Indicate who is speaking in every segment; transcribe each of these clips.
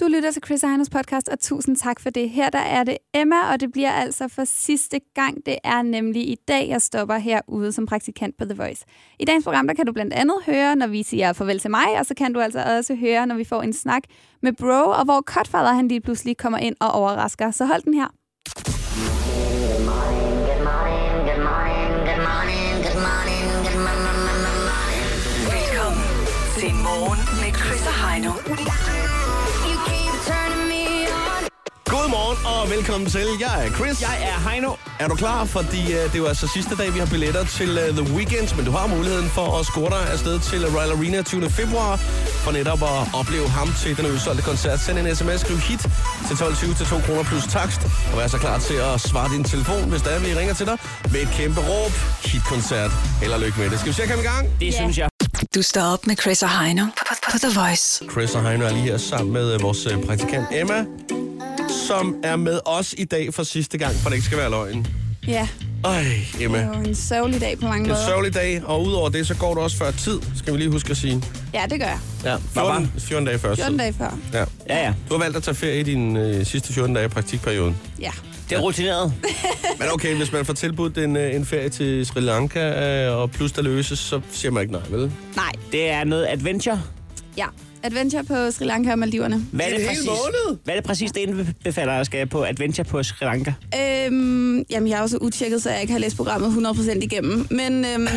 Speaker 1: Du lytter til Chris Heinos podcast, og tusind tak for det. Her der er det Emma, og det bliver altså for sidste gang. Det er nemlig i dag, jeg stopper herude som praktikant på The Voice. I dagens program der kan du blandt andet høre, når vi siger farvel til mig, og så kan du altså også høre, når vi får en snak med Bro, og hvor Cutfather han lige pludselig kommer ind og overrasker. Så hold den her.
Speaker 2: Velkommen til Morgen med Chris og Heino.
Speaker 3: Godmorgen og velkommen til. Jeg er Chris.
Speaker 4: Jeg er Heino.
Speaker 3: Er du klar? Fordi uh, det er jo altså sidste dag, vi har billetter til uh, The Weeknd, men du har muligheden for at score dig afsted til øh, Royal Arena 20. februar for netop at opleve ham til den udsolgte koncert. Send en sms, skriv hit til 12.20 til 2 kroner plus takst, og vær så klar til at svare din telefon, hvis der er, vi ringer til dig, med et kæmpe råb, hitkoncert eller lykke med det. Skal vi se at komme i gang?
Speaker 4: Det
Speaker 1: Ja.
Speaker 4: yeah. synes jeg.
Speaker 2: Du står op med Chris og Heino på, på The Voice.
Speaker 3: Chris og Heino er lige her sammen med øh, vores øh, praktikant Emma, som er med os i dag for sidste gang, for det ikke skal være løgn.
Speaker 1: Ja,
Speaker 3: Ej, Emma.
Speaker 1: det var en sørgelig dag på mange
Speaker 3: En
Speaker 1: måder.
Speaker 3: sørgelig dag, og udover det, så går du også før tid, skal vi lige huske at sige.
Speaker 1: Ja, det gør jeg.
Speaker 3: Ja, 14, 14 dage før
Speaker 1: 14
Speaker 3: tid.
Speaker 1: dage før.
Speaker 3: Ja.
Speaker 4: Ja, ja.
Speaker 3: Du har valgt at tage ferie i din øh, sidste 14 dage i praktikperioden.
Speaker 1: Ja.
Speaker 4: Det er rutineret.
Speaker 3: Men okay, hvis man får tilbudt en, øh, en ferie til Sri Lanka, øh, og plus der løses, så siger man ikke nej, vel?
Speaker 1: Nej,
Speaker 4: Det er noget adventure.
Speaker 1: ja. Adventure på Sri Lanka og Maldiverne.
Speaker 4: Hvad
Speaker 3: En hel måned?
Speaker 4: Hvad er det præcis, det indbefatter at skal på adventure på Sri Lanka?
Speaker 1: Øhm, jamen, jeg er også utjekket, så jeg ikke har læst programmet 100% igennem. Men øhm,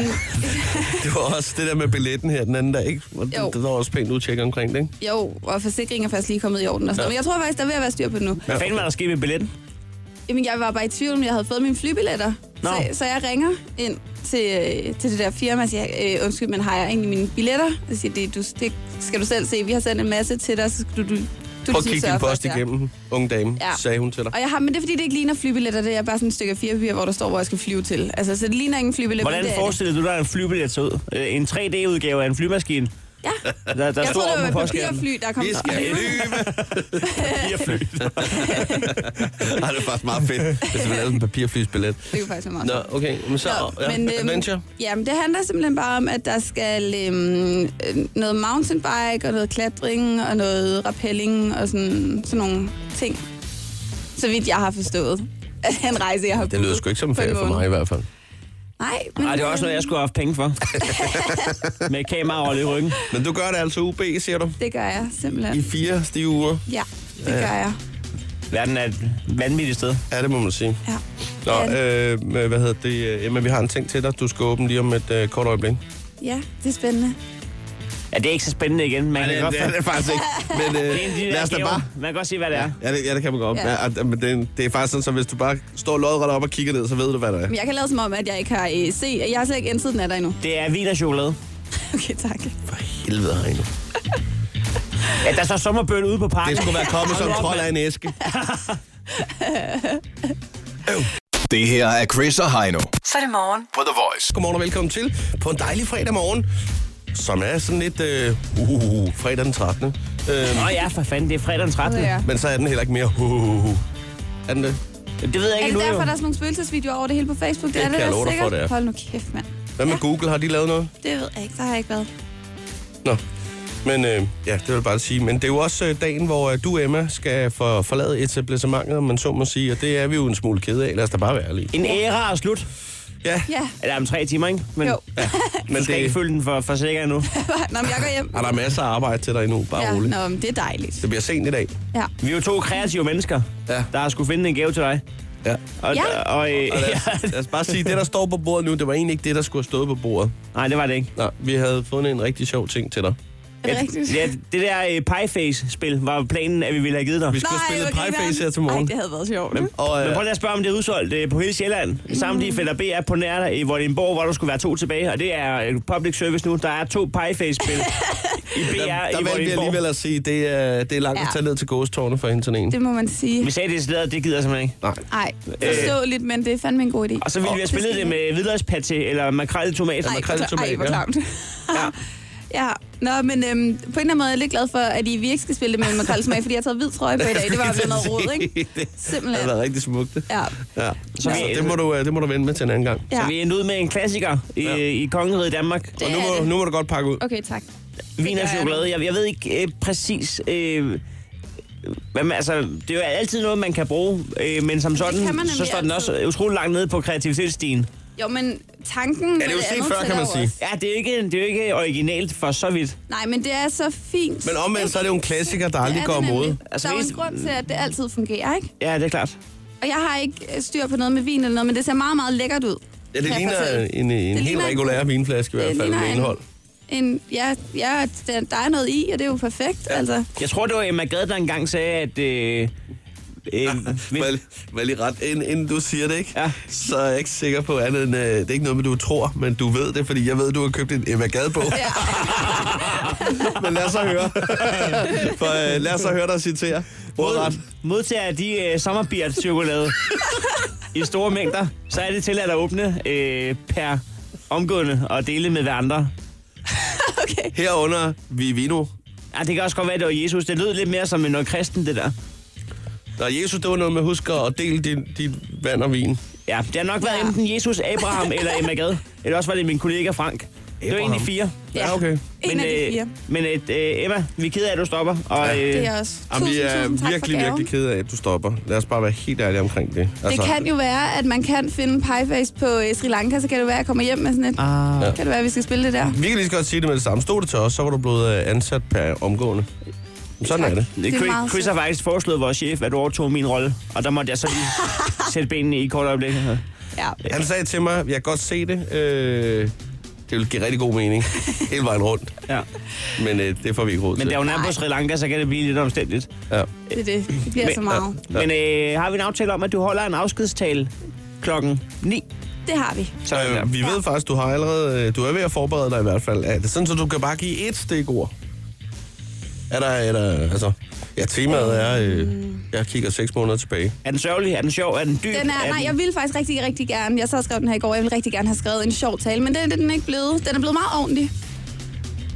Speaker 3: Det var også det der med billetten her den anden dag, ikke? Hvor
Speaker 1: Jo.
Speaker 3: Det, det var også pænt udtjek omkring det, ikke?
Speaker 1: jo, og forsikringen er først lige kommet i orden. Og sådan. noget. Men jeg tror faktisk, der er ved at være styr på det nu.
Speaker 4: Hvad fanden var der sket med billetten?
Speaker 1: Jamen, jeg var bare i tvivl, om jeg havde fået mine flybilletter.
Speaker 4: Nå.
Speaker 1: Så, så jeg ringer ind til, øh, til det der firma og siger, øh, undskyld, men har jeg egentlig mine billetter? Så siger de, du, det skal du selv se. Vi har sendt en masse til dig, så skal du... du, du
Speaker 3: Prøv
Speaker 1: ligesom
Speaker 3: at kigge
Speaker 1: sørge
Speaker 3: din
Speaker 1: for,
Speaker 3: post
Speaker 1: at det er."
Speaker 3: igennem, unge dame,
Speaker 1: Ja.
Speaker 3: sagde hun til dig.
Speaker 1: Og jeg har, men det er fordi, det ikke ligner flybilletter. Det er bare sådan et stykke af fire papir, hvor der står, hvor jeg skal flyve til. Altså, så det ligner ingen flybillet. men
Speaker 4: Hvordan
Speaker 1: det er det.
Speaker 4: forestillede du dig, at en flybillet så ud? Øh, En 3D-udgave af en flymaskine,
Speaker 1: Ja.
Speaker 4: der, der
Speaker 1: Jeg
Speaker 4: stod
Speaker 1: troede,
Speaker 4: oppe
Speaker 1: det
Speaker 4: på
Speaker 1: var et
Speaker 4: postkassen.
Speaker 1: papirfly, der kom.
Speaker 3: Vi skal flyve!
Speaker 4: Papirfly.
Speaker 3: Ej, det er faktisk meget fedt, hvis du lavede en papirflysbillet.
Speaker 1: Det er faktisk meget
Speaker 3: Nå, okay, men så... ja, adventure.
Speaker 1: øhm, Jamen, det handler simpelthen bare om, at der skal øhm, øh, noget mountainbike og noget klatring og noget rappelling og sådan, sådan nogle ting. Så vidt jeg har forstået. en rejse, jeg har
Speaker 3: Det lyder sgu ikke som en ferie for mig i hvert fald.
Speaker 1: Nej, men...
Speaker 4: Nej, det var også noget, jeg skulle have haft penge for. med et kamera over i ryggen.
Speaker 3: Men du gør det altså UB, siger du?
Speaker 1: Det gør jeg
Speaker 3: I
Speaker 1: simpelthen.
Speaker 3: fire stive uger.
Speaker 1: Ja, det gør jeg.
Speaker 4: Verden er et vanvittigt sted.
Speaker 3: Ja, det må man sige.
Speaker 1: Ja.
Speaker 3: Nå,
Speaker 1: Ja, det-
Speaker 3: øh, men hvad hedder det? øh, Emma, vi har en ting til dig. Du skal åbne lige om et øh, kort øjeblik.
Speaker 1: Ja, det er spændende.
Speaker 4: Ja, det er ikke så spændende igen. Man kan godt få-
Speaker 3: faktisk ikke. Men øh,
Speaker 4: Det er en af de der gaver. Man kan godt se, hvad det er.
Speaker 3: Ja det, ja, det kan man godt.
Speaker 1: Ja.
Speaker 3: Ja. Ja, og- men det, er en- det er faktisk sådan, så hvis du bare står lodret op og kigger ned, så ved du, hvad der er.
Speaker 1: Men jeg kan lade som om, at jeg ikke har øh, set... Jeg har slet ikke indset den af dig endnu.
Speaker 4: Det er vin og chokolade.
Speaker 1: Okay, tak.
Speaker 3: For helvede, Heino.
Speaker 4: Ja, der står sommerbøl ude på parken.
Speaker 3: Det skulle være kommet som
Speaker 4: Hold op,
Speaker 3: trold af en æske.
Speaker 5: Det her er Chris og Heino
Speaker 2: Så er det morgen.
Speaker 5: på The Voice.
Speaker 3: Godmorgen og velkommen til på en dejlig fredag morgen, som er sådan lidt øh, uh, uh, uh, fredag den 13. Øh,
Speaker 4: Nå ja, for fanden, det er fredag den 13.
Speaker 1: Ja.
Speaker 3: men så er den heller ikke mere uh, uh, uh, uh. Er den det?
Speaker 4: Det ved jeg
Speaker 1: Er
Speaker 4: ikke
Speaker 1: det
Speaker 4: nu,
Speaker 1: derfor,
Speaker 4: jo.
Speaker 1: der er sådan nogle spøgelsesvideoer over det hele på Facebook?
Speaker 3: Det
Speaker 1: er
Speaker 3: kan jeg
Speaker 1: da
Speaker 3: love dig for,
Speaker 1: sikkert.
Speaker 3: det er.
Speaker 1: Hold nu kæft, mand.
Speaker 3: Hvad med Google? Har de lavet noget?
Speaker 1: Det ved jeg ikke. Der har jeg ikke været.
Speaker 3: Nå. Men øh, ja, det vil jeg bare sige. Men det er jo også øh, dagen, hvor øh, du, Emma, skal for, forlade etablissementet, om man så må sige. Og det er vi jo en smule kede af. Lad os da bare være ærlige.
Speaker 4: En æra er slut.
Speaker 3: Ja,
Speaker 1: Ja.
Speaker 4: Eller om tre timer, ikke? Men
Speaker 1: Jo.
Speaker 3: ja.
Speaker 4: Men
Speaker 3: Men
Speaker 4: du skal det... ikke
Speaker 3: det,
Speaker 4: følge den for, for sikker endnu.
Speaker 1: Nå, men jeg går hjem.
Speaker 3: er der er masser af arbejde til dig endnu. Bare
Speaker 1: Ja,
Speaker 3: ja, roligt.
Speaker 1: nå, men det er dejligt.
Speaker 3: Det bliver sent i dag.
Speaker 1: Ja.
Speaker 4: Vi er jo to kreative mennesker,
Speaker 3: Ja.
Speaker 4: der har skulle finde en gave til dig.
Speaker 3: Ja.
Speaker 4: Og,
Speaker 1: Ja.
Speaker 4: og, og, øh,
Speaker 3: Og lad, os, lad os bare sige, det der står på bordet nu, det var egentlig ikke det, der skulle have stået på bordet.
Speaker 4: nej, det var det ikke.
Speaker 3: Nej, vi havde fundet en rigtig sjov ting til dig.
Speaker 1: Er det rigtigt?
Speaker 4: Ja, det der øh, pieface-spil var planen, at vi ville have givet dig.
Speaker 3: Vi skulle Nej, spille
Speaker 1: hvor grineren.
Speaker 3: Pieface her til morgen.
Speaker 1: Ej, det havde været sjovt.
Speaker 3: Og,
Speaker 4: Men
Speaker 3: øh,
Speaker 4: prøv lige at spørge, om det er udsolgt øh, på hele Sjælland.
Speaker 1: Mm.
Speaker 4: Samtlige fælder B er på nær i Vordingborg, hvor der skulle være to tilbage. Og det er øh, public service nu. Der er to pieface-spil i BR
Speaker 3: der,
Speaker 4: i
Speaker 3: der valgte vi
Speaker 4: Vordingborg.
Speaker 3: alligevel at sige, det er, det er langt
Speaker 1: Ja.
Speaker 3: at tage ned til gåstårnet for hende til en.
Speaker 1: Det må man sige.
Speaker 4: Vi sagde det i stedet, det gider jeg simpelthen ikke.
Speaker 3: Nej.
Speaker 1: Ej,
Speaker 3: Øh.
Speaker 1: forståeligt, men det er fandme en god idé.
Speaker 4: Og så ville vi have spillet det med hvidløgspaté eller makrel i tomat.
Speaker 1: Ej,
Speaker 3: makrel i
Speaker 1: hvor kla- Ej,
Speaker 3: tomat,
Speaker 1: hvor
Speaker 3: ja.
Speaker 1: klamt.
Speaker 4: Ja.
Speaker 1: Ja, nå, men øhm, på en eller anden måde er jeg lidt glad for, at I virkelig ikke skal spille det med en makrelsmag, fordi jeg har taget hvid trøje på i dag. Det var blevet noget råd, ikke?
Speaker 3: det
Speaker 1: Simpelthen.
Speaker 3: havde været rigtig smukt.
Speaker 1: Ja.
Speaker 3: Ja.
Speaker 4: Så
Speaker 3: Så,
Speaker 4: vi-
Speaker 3: det, må du, øh, det må du vente med til en anden gang.
Speaker 1: ja.
Speaker 4: Så vi endte ud med en klassiker i, ja.
Speaker 3: Ja.
Speaker 4: i Kongeriget Danmark.
Speaker 1: Det
Speaker 3: Og nu
Speaker 1: er
Speaker 3: må,
Speaker 1: det.
Speaker 3: nu må du godt pakke ud.
Speaker 1: Okay, tak.
Speaker 4: Vin
Speaker 1: gør
Speaker 4: og
Speaker 1: jeg.
Speaker 4: chokolade. Jeg, jeg ved ikke øh, præcis... Øh, hvad med, altså, det er jo altid noget, man kan bruge, øh, men som sådan,
Speaker 1: kan man nemlig
Speaker 4: så står den
Speaker 1: altid.
Speaker 4: også utrolig langt nede på kreativitetsstigen.
Speaker 1: Jo, men tanken... med
Speaker 3: det er jo set
Speaker 1: andet
Speaker 3: før, kan
Speaker 1: tæller
Speaker 3: man
Speaker 1: jo
Speaker 3: sige.
Speaker 1: også.
Speaker 4: Ja, det er, ikke, det er jo ikke originalt for så vidt.
Speaker 1: Nej, men det er så fint.
Speaker 3: Men omvendt, så er det jo en klassiker, der
Speaker 1: Det
Speaker 3: aldrig
Speaker 1: er
Speaker 3: går
Speaker 1: det nemlig.
Speaker 3: imod.
Speaker 4: Altså,
Speaker 1: der er jo en
Speaker 4: mest-
Speaker 1: grund til, at det altid fungerer, ikke?
Speaker 4: Ja, det er klart.
Speaker 1: Og jeg har ikke øh, styr på noget med vin eller noget, men det ser meget, meget lækkert ud.
Speaker 3: Ja,
Speaker 1: kan
Speaker 3: det
Speaker 1: jeg
Speaker 3: ligner
Speaker 1: fortælle.
Speaker 3: en, en
Speaker 1: Det
Speaker 3: helt
Speaker 1: ligner-
Speaker 3: regulær vinflaske i hvert
Speaker 1: Det
Speaker 3: fald
Speaker 1: ligner
Speaker 3: med
Speaker 1: en-
Speaker 3: indhold.
Speaker 1: En, ja, ja der, der er noget i, og det er jo perfekt, ja. altså.
Speaker 4: Jeg tror, det var Emma Gad, der engang sagde, at... Øh, øh, vi-
Speaker 3: Vel, vel lige ret, inden, inden du siger det, ikke?
Speaker 4: Ja.
Speaker 3: Så er jeg ikke sikker på andet end, øh, det er ikke noget med, du tror, men du ved det, fordi jeg ved, du har købt en Emma Gade-bog.
Speaker 1: Ja.
Speaker 3: men lad os så høre. For øh, lad os så høre dig citere. Ordret.
Speaker 4: mod, modtager de øh, sommerbiert-chokolade i store mængder, så er det tilladt at åbne øh, per omgående og dele med hverandre.
Speaker 1: Okay.
Speaker 3: Herunder Vivino.
Speaker 4: Ja, Ah, det kan også godt være, det var Jesus. Det lød lidt mere som noget kristen, det der.
Speaker 3: Der Jesus, det var noget med, husk at dele din, din vand og vin.
Speaker 4: Ja, det har nok været
Speaker 1: Ja.
Speaker 4: enten Jesus, Abraham eller Emma Gad. Eller også var det min kollega Frank. Det var
Speaker 3: Abraham.
Speaker 4: egentlig fire.
Speaker 1: Ja,
Speaker 3: okay.
Speaker 1: En af de fire.
Speaker 4: Øh, men øh, øh, Emma, vi er ked af, at du stopper. Og,
Speaker 3: Ja.
Speaker 4: øh,
Speaker 1: Det er jeg også.
Speaker 3: Jamen, vi
Speaker 1: tusind,
Speaker 3: er
Speaker 1: tusind tak
Speaker 3: virkelig,
Speaker 1: for gaven.
Speaker 3: virkelig kede af, at du stopper. Lad os bare være helt ærlige omkring det. Altså,
Speaker 1: Det kan jo være, at man kan finde pieface på øh, Sri Lanka, så kan det være, at jeg kommer hjem med sådan et... Ah. Kan det være, at vi skal spille det der?
Speaker 3: Vi kan lige så godt sige det med det samme. Stod det til os, så var du blevet øh, ansat per omgående. Sådan
Speaker 1: Tak.
Speaker 3: er det.
Speaker 1: Det er
Speaker 4: Chris,
Speaker 1: meget
Speaker 4: Chris har faktisk foreslået vores chef, at du overtog min rolle. Og der måtte jeg så lige sætte benene i et kort øjeblik.
Speaker 1: Ja.
Speaker 3: Han sagde til mig, jeg kan godt se det. Øh, det vil give rigtig god mening. Hele vejen rundt.
Speaker 4: Ja.
Speaker 3: Men øh, det får vi ikke råd
Speaker 4: Men
Speaker 3: til.
Speaker 4: da hun er på Sri Lanka, så kan det blive lidt omstændigt.
Speaker 3: Ja.
Speaker 1: Det er det. Det bliver så meget.
Speaker 4: Ja. Men øh, har vi en aftale om, at du holder en afskedstale klokken 9?
Speaker 1: Det har vi.
Speaker 4: Så,
Speaker 3: Øh, vi ved faktisk, du har allerede... øh, Du er ved at forberede dig i hvert fald. Er det sådan, så du kan bare give et stikord? Er der... Er der altså, ja, temaet er... Øh, jeg kigger seks måneder tilbage.
Speaker 4: Er den sørgelig? Er den sjov? Er den dyb?
Speaker 1: Den er, nej, jeg ville faktisk rigtig, rigtig gerne. Jeg sad og skrev den her i går, jeg ville rigtig gerne have skrevet en sjov tale, men den, den er den ikke blevet. Den er blevet meget ordentlig.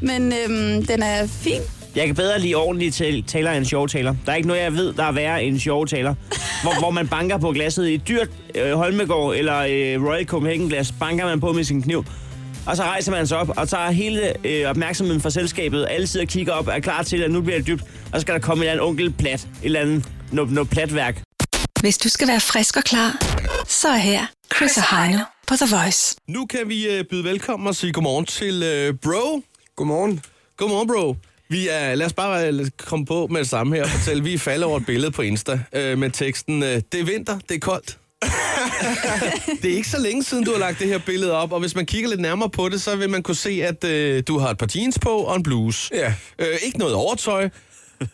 Speaker 1: Men øhm, den er fin.
Speaker 4: Jeg kan bedre lide ordentlige tal- taler end sjove taler. Der er ikke noget, jeg ved, der er værre end sjove taler. Hvor, hvor man banker på glasset i et dyrt øh, Holmegård eller øh, Royal Copenhagen glas, banker man på med sin kniv. Og så rejser man sig op og tager hele øh, opmærksomheden fra selskabet. Alle sidder og kigger op er klar til, at nu bliver det dybt. Og så skal der komme en eller anden onkel plat. Et eller andet noget, noget platværk.
Speaker 6: Hvis du skal være frisk og klar, så er her Chris og Heino på The Voice.
Speaker 3: Nu kan vi øh, byde velkommen og sige godmorgen til øh, bro.
Speaker 7: Godmorgen.
Speaker 3: Godmorgen, bro. Vi er, lad os bare øh, komme på med det samme her og fortælle, vi er faldet over et billede på Insta øh, med teksten, øh, det er vinter, det er koldt. det er ikke så længe siden, du har lagt det her billede op, og hvis man kigger lidt nærmere på det, så vil man kunne se, at øh, du har et par jeans på og en bluse.
Speaker 7: Ja.
Speaker 3: Øh, ikke noget overtøj,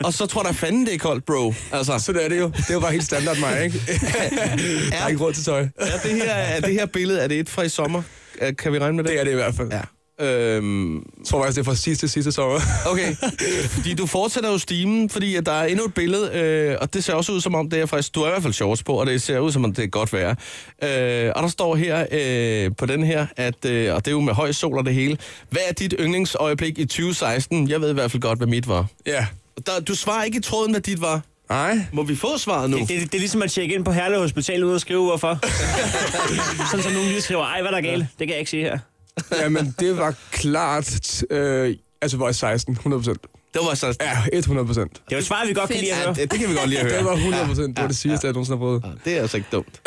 Speaker 3: og så tror der fanden, det er koldt, bro. Altså,
Speaker 7: Sådan er det jo. Det var bare helt standard mig, ikke? Der er ikke råd til tøj.
Speaker 3: er det her, er det her billede, er det et fra i sommer? Er- Kan vi regne med det?
Speaker 7: Det er det i hvert fald.
Speaker 3: Ja.
Speaker 7: Øhm, jeg tror faktisk, det er fra sidste, sidste sommer.
Speaker 3: Okay, fordi du fortsætter jo stimen, fordi at der er endnu et billede, øh, og det ser også ud som om, det er faktisk, du har i hvert fald shorts på, og det ser ud som om, det er godt vejr. Øh, og der står her øh, på den her, at, øh, og det er jo med høj sol og det hele, hvad er dit yndlingsøjeblik i 2016? Jeg ved i hvert fald godt, hvad mit var.
Speaker 7: ja.
Speaker 3: Der, du svarer ikke i tråden, hvad dit var.
Speaker 7: Nej.
Speaker 3: Må vi få svaret nu?
Speaker 4: Det, det, det er ligesom at tjekke ind på Herlev Hospital ud og skrive hvorfor. Sådan som nogen lige skriver, ej, hvad er der galt? Det kan jeg ikke sige her.
Speaker 7: Jamen, det var klart... Øh, altså, var 16. 100 procent.
Speaker 3: Det var så...
Speaker 7: Ja, 100 procent.
Speaker 4: Det er jo et svar, vi godt kan lide at
Speaker 3: Ja,
Speaker 4: høre.
Speaker 3: det, det kan vi godt lige høre.
Speaker 7: Det var 100 procent. Det var det sidste, jeg nogensinde har prøvet.
Speaker 3: Det er altså ikke dumt.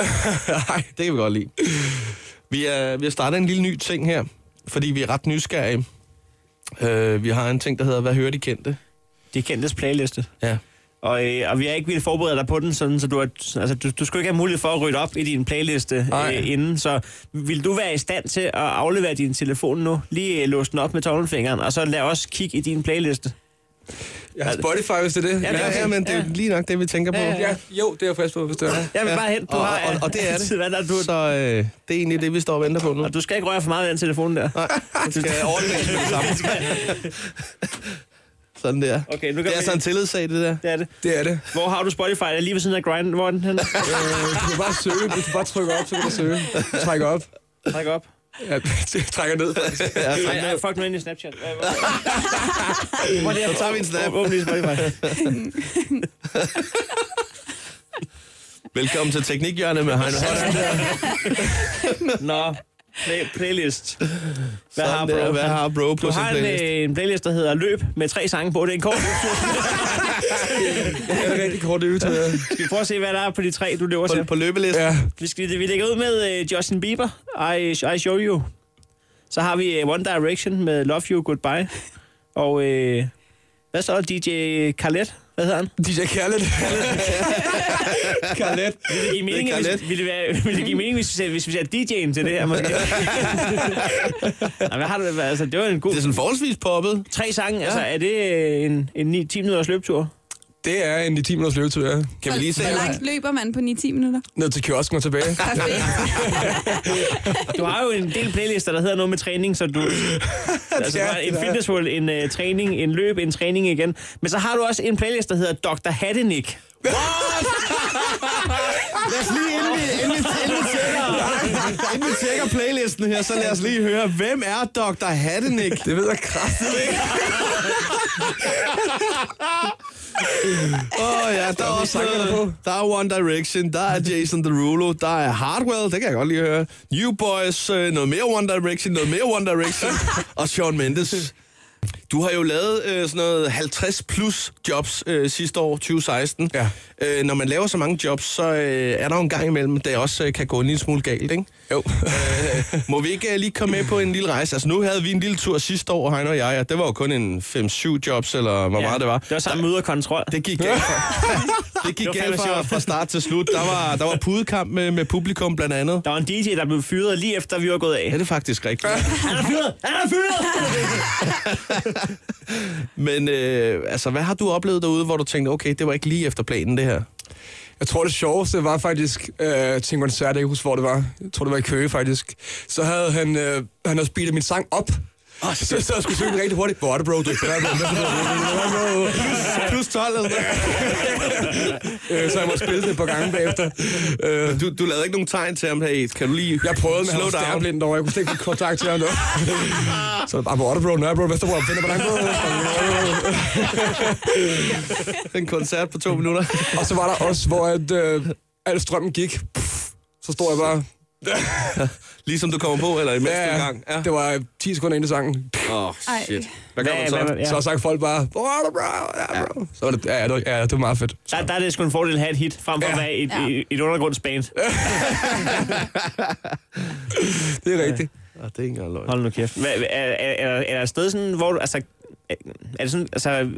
Speaker 3: Nej, det kan vi godt lide. Vi, er, vi har startet en lille ny ting her, fordi vi er ret nysgerrige. Øh, vi har en ting, der hedder, hvad hører de kendte?
Speaker 4: Det er kendtes playliste.
Speaker 3: Ja.
Speaker 4: Og, øh, og vi har ikke ville forberede dig på den, sådan, så du, har, altså, du, du skulle ikke have mulighed for at rydde op i din playliste
Speaker 7: Nej.
Speaker 4: øh, inden. Så vil du være i stand til at aflevere din telefon nu, lige øh, låse den op med tommelfingeren, og så lad os kigge i din playliste.
Speaker 7: Jeg har Spotify, hvis det er det.
Speaker 4: Ja,
Speaker 3: Ja,
Speaker 4: okay.
Speaker 3: ja, men det er jo lige nok det, vi tænker på.
Speaker 7: Ja, jo, det er jeg frisk på, hvis det er det.
Speaker 4: Jeg vil bare hen, du
Speaker 3: og,
Speaker 4: har...
Speaker 3: og, og, og det er det.
Speaker 4: Hvad der, du,
Speaker 3: Så øh, det er egentlig det, vi står og venter på nu.
Speaker 4: og du skal ikke røre for meget ved den telefon der.
Speaker 3: Nej, det skal overleves med det samme. Sådan der.
Speaker 4: Okay, nu kan
Speaker 3: det er
Speaker 4: vi-
Speaker 3: altså en tillidssag, det der.
Speaker 4: Det er det.
Speaker 7: Det er det.
Speaker 4: Hvor har du Spotify? Er det lige ved siden af Grind? Hvor er den henne?
Speaker 7: Øh, du kan bare søge. Hvis du bare trykker op, så kan du søge. Træk op.
Speaker 4: Træk op.
Speaker 7: Ja, trækker ned.
Speaker 4: Ej, ej, fuck nu ind i Snapchat. Hvad- hvad- Hvor er det her?
Speaker 3: Så tager vi en snap.
Speaker 4: Åbn lige Spotify.
Speaker 3: Velkommen til Teknikhjørnet med Heino Hansen.
Speaker 4: Nå. Play- playlist. Hvad
Speaker 3: Sådan
Speaker 4: har
Speaker 3: der.
Speaker 4: bro?
Speaker 3: Hvad har bro på
Speaker 4: Du
Speaker 3: sin
Speaker 4: har en,
Speaker 3: playlist?
Speaker 4: øh, en playlist, der hedder Løb med tre sange på. Det er en kort
Speaker 7: Det er en rigtig kort øvetid. Ja.
Speaker 4: Skal vi prøve at se, hvad der er på de tre, du løber
Speaker 3: På,
Speaker 4: til?
Speaker 3: på løbelisten.
Speaker 7: ja.
Speaker 4: Vi, skal, vi lægger ud med øh, Justin Bieber, I, I Show You. Så har vi øh, One Direction med Love You, Goodbye. Og øh, hvad så? DJ Khaled? Hvad hedder han?
Speaker 7: DJ Khaled. Khaled.
Speaker 4: Vil det give mening,
Speaker 3: Khaled.
Speaker 4: hvis, vil det være, vil det give mening hvis, vi sagde, hvis vi sagde DJ'en til det her? Måske? Nå, hvad har du, altså, det var en god...
Speaker 3: Det er sådan forholdsvis poppet.
Speaker 4: Tre sange, ja. altså er det øh, en, en 9, 10 minutters løbetur?
Speaker 7: Det er en i 10 minutters løbetur, ja.
Speaker 3: Kan vi lige se?
Speaker 1: Hvor langt løber man på 9-10 minutter?
Speaker 7: Ned til kiosken og tilbage.
Speaker 1: Perfekt.
Speaker 4: Du har jo en del playlister, der hedder noget med træning, så du... altså, du har en fitnesshold, en uh, træning, en løb, en træning igen. Men så har du også en playlist, der hedder Dr. Hattenik.
Speaker 3: Lad os lige inden vi, inden vi, inden vi, tjekker, inden vi tjekker playlisten her, så lad os lige høre, hvem er Dr. Hattenik?
Speaker 7: Det ved jeg kraftigt ikke.
Speaker 3: Åh oh, ja, der er også
Speaker 7: sange, der er
Speaker 3: noget.
Speaker 7: på.
Speaker 3: Der er One Direction, der er Jason Derulo, der er Hardwell, det kan jeg godt lige høre. New Boys, øh, noget mere One Direction, noget mere One Direction. og Shawn Mendes. Du har jo lavet øh, sådan noget 50 plus jobs øh, sidste år, 2016.
Speaker 7: Ja.
Speaker 3: Øh, når man laver så mange jobs, så øh, er der jo en gang imellem, det også øh, kan gå en lille smule galt, ikke?
Speaker 7: Jo.
Speaker 3: Øh, må vi ikke øh, lige komme med på en lille rejse? Altså nu havde vi en lille tur sidste år, Heino og jeg, og det var jo kun en 5-7 jobs, eller hvor ja. meget det var.
Speaker 4: Det var sammen med ude kontrol. Det,
Speaker 3: Det gik galt fra, det gik
Speaker 4: Det var
Speaker 3: galt
Speaker 4: fandme
Speaker 3: fra,
Speaker 4: sjovt.
Speaker 3: fra start til slut. Der var, der var pudekamp med, med publikum blandt andet.
Speaker 4: der var en DJ, der blev fyret lige efter, vi var gået af.
Speaker 3: Ja, det er faktisk rigtigt.
Speaker 4: Han er fyret! Han er fyret!
Speaker 3: Men øh, altså, hvad har du oplevet derude, hvor du tænkte, okay, det var ikke lige efter planen, det her?
Speaker 7: Jeg tror, det sjoveste var faktisk øh, til en koncert, jeg kan ikke huske, hvor det var. Jeg tror, det var i Køge, faktisk. Så havde han, øh, han havde speedet min sang op. Oh, så, så jeg skulle synge den rigtig hurtigt. Hvor er det, bro? Du er ikke klar, bro. Hvor er det, bro?
Speaker 3: Plus 12 eller
Speaker 7: Øh, så jeg måtte spille det et par gange bagefter. Øh,
Speaker 3: du, du lavede ikke nogen tegn til ham, hey, kan du lige
Speaker 7: jeg prøvede, men han
Speaker 3: slow
Speaker 7: var
Speaker 3: down?
Speaker 7: stærblind over. Jeg kunne slet ikke få kontakt til ham. dog. så jeg bare, hvor er det, bro? Nørrebro, Vesterbro, Finder, hvordan går det?
Speaker 3: En koncert på to minutter.
Speaker 7: Og så var der også, hvor at, øh, al strømmen gik. Pff, så stod jeg bare...
Speaker 3: Ligesom du kommer på, eller imens ja, du er i gang. Ja.
Speaker 7: Det var øh, 10 sekunder ind i sangen.
Speaker 3: Åh, oh,
Speaker 1: Ej.
Speaker 3: shit. Hvad gør man
Speaker 4: Hvad-
Speaker 3: så?
Speaker 4: hvad-
Speaker 7: Ja. Så sagde folk bare, hvor er det, bro? Ja, bro. Så var det, ja, det var, ja, det var meget fedt.
Speaker 4: Der, der er det sgu en fordel at have et hit, frem for at være et,
Speaker 1: Ja.
Speaker 4: et, et undergrundsband.
Speaker 7: Det er rigtigt.
Speaker 3: Åh, Ah, det er ikke engang løgn.
Speaker 4: Hold nu kæft. Hva, er, er, er, er der et sted sådan, hvor du, altså, er er det sådan, altså,